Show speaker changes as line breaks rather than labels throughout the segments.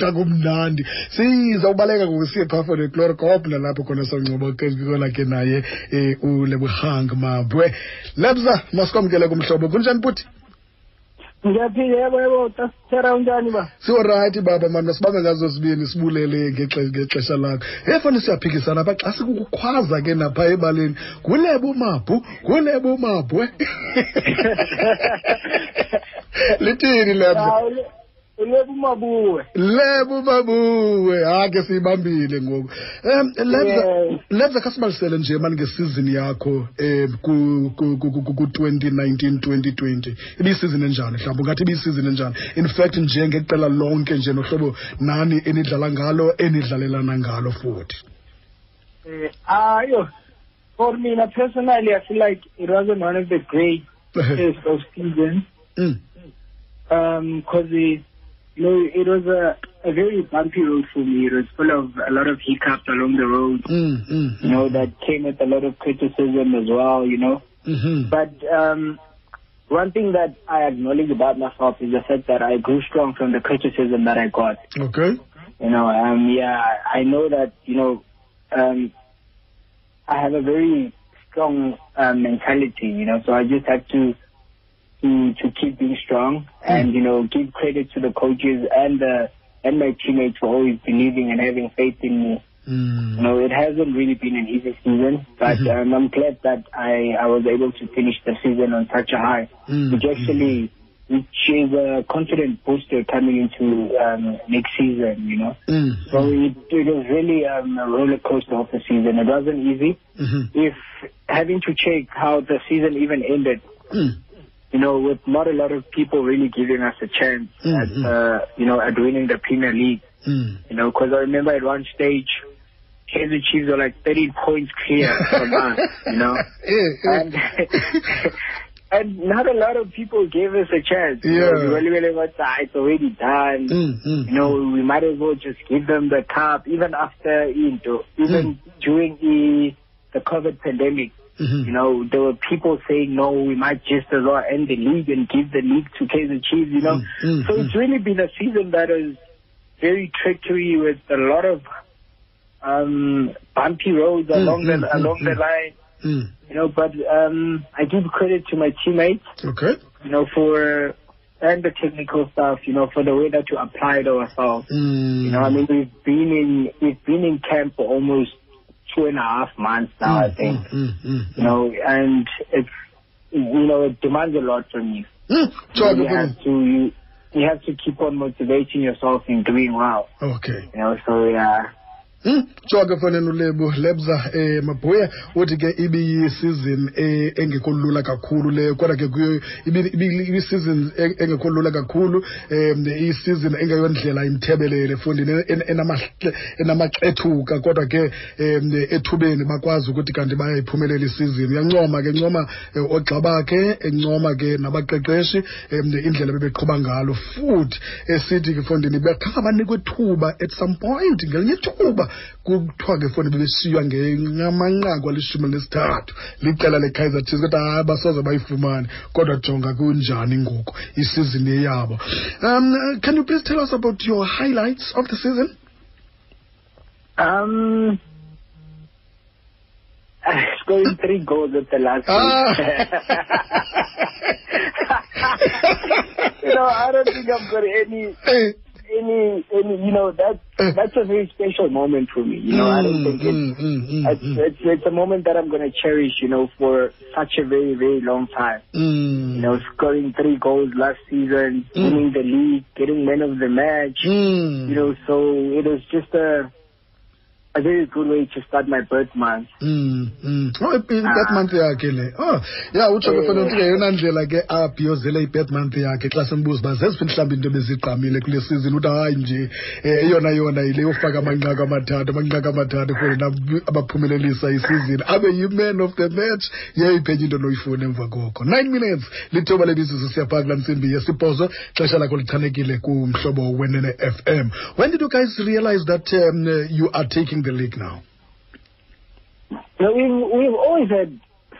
xa kumnandi sizawubaleka ngokusiye phafa neclor cop nalapho khona sawungcoba kona ke naye um ulebuhang mabwe lebza masikwamkele kumhlobo kunjani buthi
ndiyaphila yebo yebo tasithera unjani ba
siorayithi baba mani masibambe ngazo sibini sibulele ngexe- ngexesha lakho efane siyaphikisana apha xa sikukukhwaza ke napha ebaleni guleba umabhu guleba umabhwe lithini lebza
Hayi, ulebe umabuwe
lebo babuwe hake siyibambile ngoku um lebza
Yeah.
lebza khasibalisele nje mani ngesizini yakho um ku-twenty nineteen twenty twenty ibiyisizini enjani mhlawumbi ungathi ibiyisizini enjani in fact nje ngeqela lonke nje nohlobo nani enidlala ngalo enidlalelana ngalo futhi
Eh, ayo for mina personally i feel like it wasn't one of the great tests of season
Mm,
um because it, you know, it was a, a very bumpy road for me it was full of a lot of hiccups along the road
mm, mm,
you know that came with a lot of criticism as well you know
mhm.
But um, one thing that I acknowledge about myself is the fact that I grew strong from the criticism that I got.
okay
You know, um, yeah, I know that, you know, um, I have a very strong um, mentality, you know, so I just have to to, to keep being strong and, you know, give credit to the coaches and the and my teammates for always believing and having faith in me.
Mm.
No, it hasn't really been an easy season, but
Mhm.
um, I'm glad that I, I was able to finish the season on such a high,
Mm,
which actually which is a confident booster coming into um, next season. You know,
mm,
so it, it was really um, a roller coaster of the season. It wasn't easy.
mhm,
If having to check how the season even ended,
mm,
you know, with not a lot of people really giving us a chance
Mhm.
at uh, you know at winning the Premier League.
mm.
You know, 'cause I remember at one stage, Kansas Chiefs were like 30 points clear from us, you know.
Eh, eh.
And, and not a lot of people gave us a chance. You know,
Yeah.
we really, really went, "Ah, it's already done.
Mm, mm.
You know, we might as well just give them the cup, even after, you know, even during the, the COVID pandemic.
Mhm.
You know, there were people saying, no, we might just as well end the league and give the league to Kaiser Chiefs, you know.
Mm, mm,
so it's
mm.
really been a season that is very trickery with a lot of um, bumpy roads
Mm,
along,
mm,
the,
mm,
along the
mm.
line,
Mm.
you know. But um, I give credit to my teammates,
okay
you know, for and the technical staff, you know, for the way that you applied ourselves.
Mm.
You know, I mean, we've been in we've been in camp for almost two and a half months now, I
Mm,
think.
mm, mm, mm,
You know, and it's you know it demands a lot from you.
Mm,
You, know,
Jogger
you have to you, you have to keep on motivating yourself in doing well.
Fana. Okay.
You know, so yeah.
Mm, Jogger Fana nolebo lebza eh Mabuya uthi ke ibiyisizin eh engekho lula kakhulu leyo kodwa ke kuyo ibi- ibi- ibisizin eng- engekho lula e, kakhulu em isizin engeyondlela imthebelele fundi ne- en- enamahle- enamaxethuka kodwa ke e, em ethubeni bakwazi ukuthi kanti bayayiphumelela isizini uyancoma ke ncoma eh, ogxa bakhe encoma ke nabaqeqeshi em, indlela bebeqhuba ngalo futhi esithi ke fondini bekhange banikwe ithuba at some point ngelinye ithuba kuthiwa ke fondi bebeshiywa ngenqamanqaku alishumi elinesithathu liqela lekaizer chiefs kodwa hayi basoze bayifumane kodwa jonga kunjani ngoku isizini eyabo um can you please tell us about your highlights of the season
Um, scoring three goals at the last.
Ah.
week. you know, I don't think I've got any
Eh,
any any. You know, that that's a very special moment for me. You know, I don't
mm,
think it's.
mm, mm, mm,
It's,
mm.
it's it's a moment that I'm gonna cherish, you know, for such a very very long time.
Mm.
You know, scoring three goals last season,
Mm.
winning the league, getting man of the match,
Mm.
you know, so it was just a a very good way to start my birth month.
Mm, mm. Oh, i-birth
Ah.
month yakhe le oh ya utsho ke
Eh.
fana ukuthi yeyona ndlela ke abhiyozele i-birth month yakhe xa simbuza uba zeziphi mhlawumbi into bezigqamile kule season uthi hayi nje um eyona yona yile yofaka amanqaku amathathu amanqaku amathathu fona abaphumelelisa isizini abe yi-man of the match e, yeyiphi enye into noyifuna emva koko nine minutes lithuba lemizuzu siyaphaa kulaa ntsimbi yesibhozo xesha lakho lichanekile kumhlobo wenene f m when did you guys realize that um, you are taking the league now
You know, we've, we've always had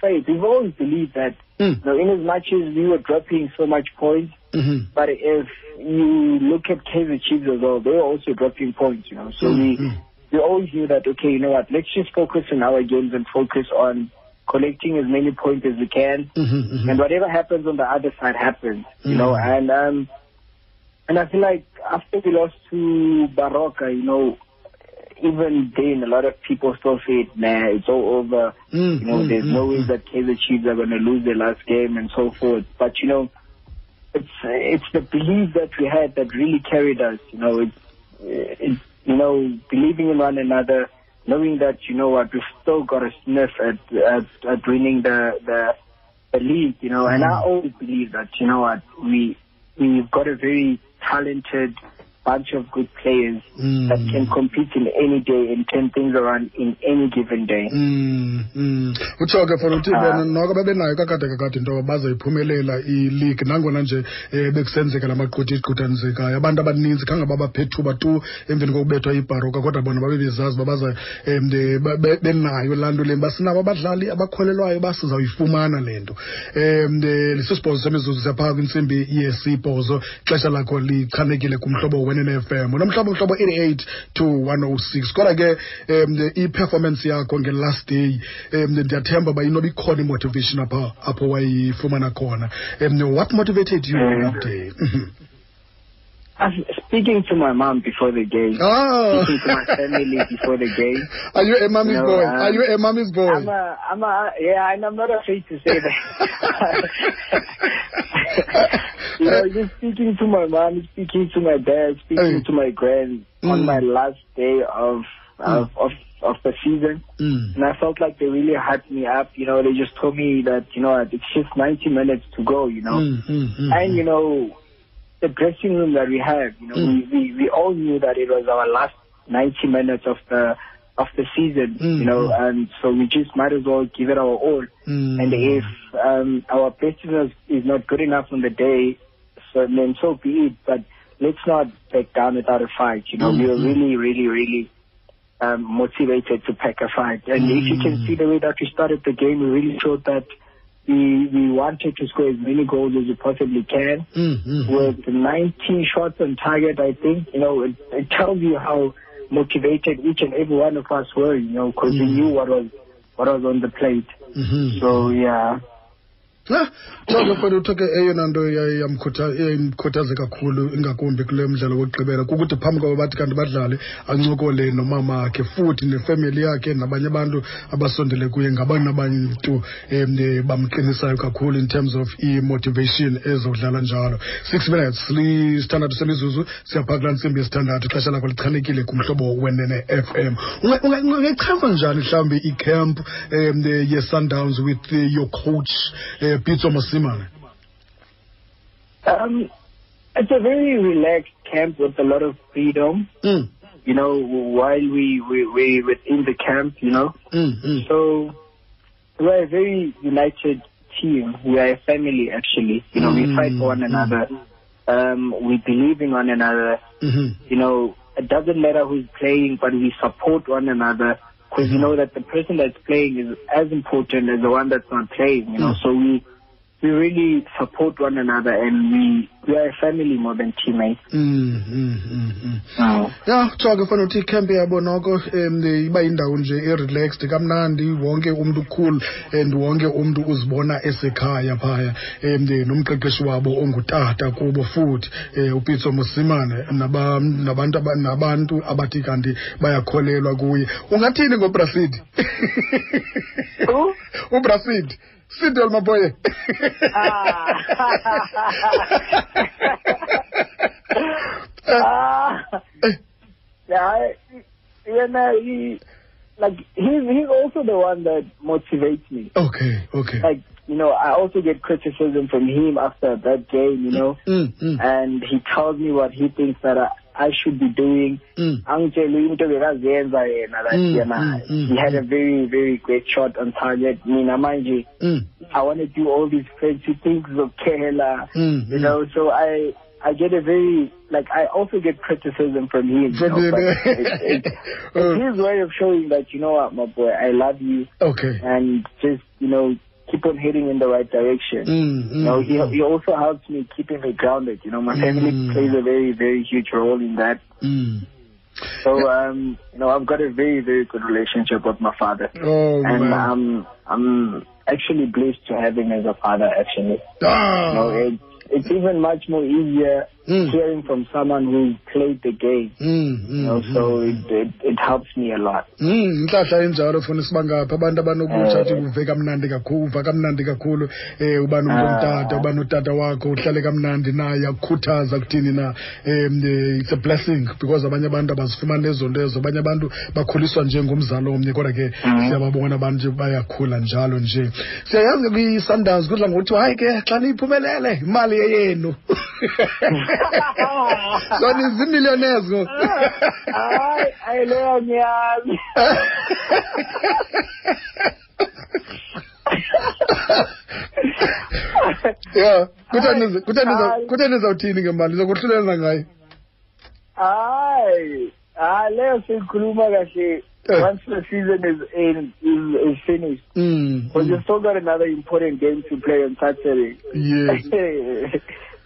faith. We've always believed that,
Mm.
you know, in as much as we were dropping so much points,
Mhm.
But if you look at Kaiser Chiefs as well, they were also dropping points, you know. So
Mhm.
we we always knew that okay, you know what, let's just focus on our games and focus on collecting as many points as we can
Mhm, mhm.
and whatever happens on the other side happens, you know.
Mhm.
And um, and I feel like after we lost to Barroca, you know, even then a lot of people still said, "Nah, it's all over."
Mm,
You know,
mm,
there's
mm,
no way
mm.
that Kaiser Chiefs are going to lose their last game and so forth. But you know, it's it's the belief that we had that really carried us. You know, it's, it's you know believing in one another, knowing that you know what we've still got a sniff at at, at winning the the the league. You know, and I always believe that you know what we we've got a very talented bunch of good players
Mm.
that can compete in any day and turn things around in any given day.
Mm, mm. utshoke fana uthi
Ah.
bona noko babenayo kakade kakade into yoba bazoyiphumelela iligi nangona nje um bekusenzeka la maqhuthi iqhuthanisekayo abantu abaninzi khange babaphethuba tu emveni kokubethwa ibharoka kodwa bona babebezazi uba baza um benayo laa nto le basinabo abadlali abakholelwayo uba sizawuyifumana le nto um lisisibhozo semizuzu siyaphaa kwintsimbi yesibhozo ixesha lakho lichanekile kumhlobo wenenf m nomhlobo mhlobo 88 to 106 kodwa ke um i-performance yakho nge-last day um ndiyathemba uba inoba ikhona imotivation apha apho wayifumana khona um what motivated you on that day
I was speaking to my mom before the game.
ah
Speaking to my family before the game.
are you a mommy's
No,
boy
um,
are you a mommy's boy
I'm a, I'm a, yeah, and I'm not afraid to say that. you know, just speaking to my mom, speaking to my dad, speaking
Hey.
to my grand
Mm.
on my last day of of,
Mm.
of of the season,
Mm.
and I felt like they really hyped me up. You know, they just told me that you know it's just 90 minutes to go. You know,
Mm, mm, mm,
and you
mm.
know the dressing room that we had. You know,
Mm.
we, we we all knew that it was our last 90 minutes of the of the season.
Mm.
You know, and so we just might as well give it our all.
Mm.
And if um, our performance is not good enough on the day, so then so be it. But let's not back down without a fight. You know, we were
Mhm.
really, really, really um, motivated to pack a fight. And if you can
Mm.
see the way that we started the game, we really showed that we we wanted to score as many goals as we possibly can.
Mm, mm, mm.
With 19 shots on target, I think you know it, it tells you how motivated each and every one of us were. You know, because we
Mm.
knew what was what was on the plate.
Mhm.
So yeah.
Ah, Thobe mfowethu uthoke eyona nto yayamkhutha- eyayimkhuthaze kakhulu ingakumbi kule mdlalo wokugqibela kukuthi phambi kwabo bathi kanti badlale ancokole nomama wakhe futhi nefemeli yakhe nabanye abantu abasondele kuye ngabanye abantu um bamqinisayo kakhulu in terms of i-motivation ezodlala njalo six minutes lisithandathu semizuzu siyaphaa kulaa ntsimbi yesithandathu ixesha lakho lichanekile kumhlobo wenene fm Unga- unga- ungayichaza njani mhlawumbi icamp um ye-sundowns with eh, your coach um pitso masimane
Um, it's a very relaxed camp with a lot of freedom,
Mm,
you know, while we, we, we within the camp, you know.
mm, mm.
So we're a very united team. We are a family, actually. You know, we fight for one
Mm, mm.
another. Um, we believe in one another.
Mhm,
You know, it doesn't matter who's playing, but we support one another because you know that the person that's playing is as important as the one that's not playing. You know,
Mm.
so we we really support one another and we we are a family more than teammates.
mm, mm, mm, mm. ya kuthiwa ke fanele uthi ikhempe yabo noko um iba yindawo nje erelaxed kamnandi wonke umntu ukhulu and wonke umntu uzibona esekhaya phaya um nomqeqeshi wabo ongutata kubo futhi um upitso mosimane naba- nabantu aba- nabantu abathi kanti bayakholelwa kuye ungathini ngobrasidi
Who?
ubrasidi sidol maboye
Ah.
Eh,
yeah, I, you know, he, like he's he's also the one that motivates me.
okay okay
Like you know, I also get criticism from him after that game. You know,
Mm, mm,
and he tells me what he thinks that I, I should be doing.
mm.
angitshela into bekazenza yena like
Mm,
yena
mm, mm,
he had a
mm.
very very great shot on target mina manje
Mm,
i want to do all these fancy things of Kerala,
mm,
you
mm.
know so i i get a very like i also get criticism from him you
From
know,
him,
but
yeah.
it, it,
Oh.
it's his way of showing that you know what my boy i love you
Okay.
and just you know keep on heading in the right direction.
Mm,
You know,
mm,
he,
mm,
he also helps me keeping me grounded. You know, my
Mm.
family plays a very, very huge role in that.
mm.
So, um, you know, I've got a very, very good relationship with my father.
Oh,
and
man.
um, I'm actually blessed to have him as a father, actually. You know,
ah.
it, it's even much more easier
Mm,
hearing from someone who played the game.
mm, mm,
You know,
mm.
so it, it, it helps me a lot.
Mm, inhlahla enjalo funa sibangapha abantu abanokutsha
Eh.
athi uve kamnandi kakhulu uva kamnandi kakhulu um uba nomntu
Ah.
omtata uba notata wakho uhlale kamnandi naye akukhuthaza kuthini na um it's a blessing because abanye abantu abazifumani ezo nto ezo abanye abantu bakhuliswa nje ngomzali omnye kodwa ke
Mhm.
siyababona abantu nje bayakhula njalo nje siyayazi ke kwi-sundowns kudla ngokuthi hayi ke xa niyiphumelele imali yeyenu so nizimillionaires ngoku
Ay, ay, leyo ngiyami.
ya
Hayi, hayi.
kuthe nizawuthini ngemali nizokuhlulela ngayo
Ay, ah, leyo sikhuluma kahle.
Eh.
Once the season is in, is, is finished,
Mm,
but you
mm,
still got another important game to play on Saturday.
yes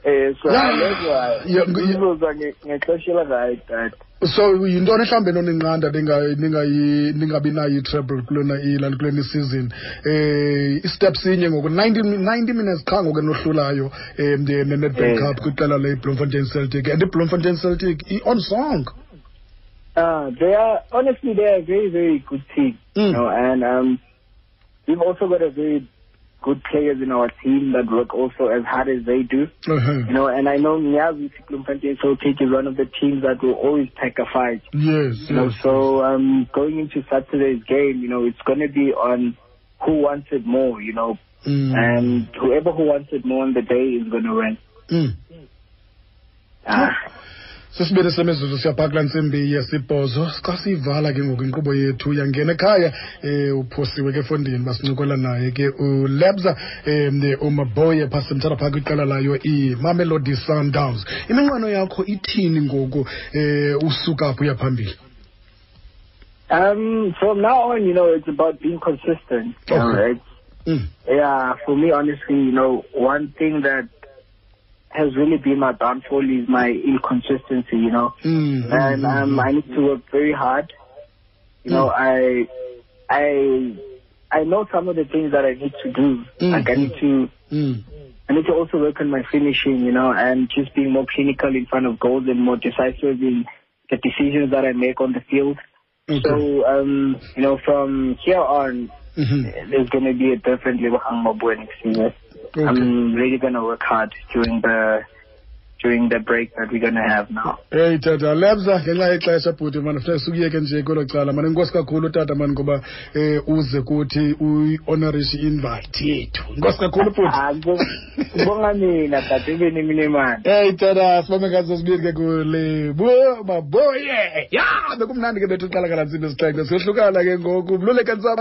Eh, so
Yeah.
that's why.
Yeah, ngu-
Ngizoza nge- ngexesha elirayithi, dad.
so yintoni mhlawumbe noninqanda ninga- ningayi- ningabi nayo i-treble kulena ilali kulena isizini um istep sinye ngoku 90 min- 90 minutes qha ngoku enohlulayo um nenetbank
Eh.
cup kwiqela lebloemfontein celtic and ibloemfontein celtic i-on song
Uh, they are honestly they are a very very good team, you
Mm.
know, and um, we've also got a very good players in our team that work also as hard as they do, you
Uh-huh.
know. And I know Nyazi Klumpante Celtic is one of the teams that will always take a fight,
yes
you know.
yes,
So um, going into Saturday's game, you know, it's going to be on who wants it more, you know,
Mm,
and whoever who wants it more on the day is going to win.
mm.
Uh,
sisibini semizuzu siyaphaa kula ntsimbi yesibhozo xa siyivala ke ngoku inkqubo yethu yangena ekhaya um uphosiwe ke efondini basincokola naye ke ulebza um umaboye phasemthatha phaa kwiqela layo imamelodi sundowns iminqweno yakho ithini ngoku um usuka apho uya phambili
um, from now on, you know, it's about being consistent. You know,
Okay.
it's,
Mm,
Yeah, for me, honestly, you know, one thing that has really been my downfall is my inconsistency, you know,
mm, mm,
and um, I need to work very hard. You know, I, I, I know some of the things that I need to do.
Mm.
Like I need to,
mm,
I need to also work on my finishing, you know, and just being more clinical in front of goals and more decisive in the decisions that I make on the field.
okay.
So, um, you know, from here on,
Mhm.
there's going to be a different level of Mabue next season.
Okay.
I'm really going to work hard during the during the break that we're going to have now.
eyi E, tata lebza ngenxa yexesha bhuti mani funeka sikuyeke nje kwelo cala mani inkosi kakhulu tata mani ngoba um uze kuthi uyi-honorish i-invite yethu inkosi kakhulu bhuti
Ah, bon. bu- bunga mina dadebeni miniman.
eyi E, tata sibambe ngazo sibili ke kulebo maboye ya bekumnandi ke bethu uqala kalantsimbi sixhenxe siyohlukana ke ngoku mluleke ntsaba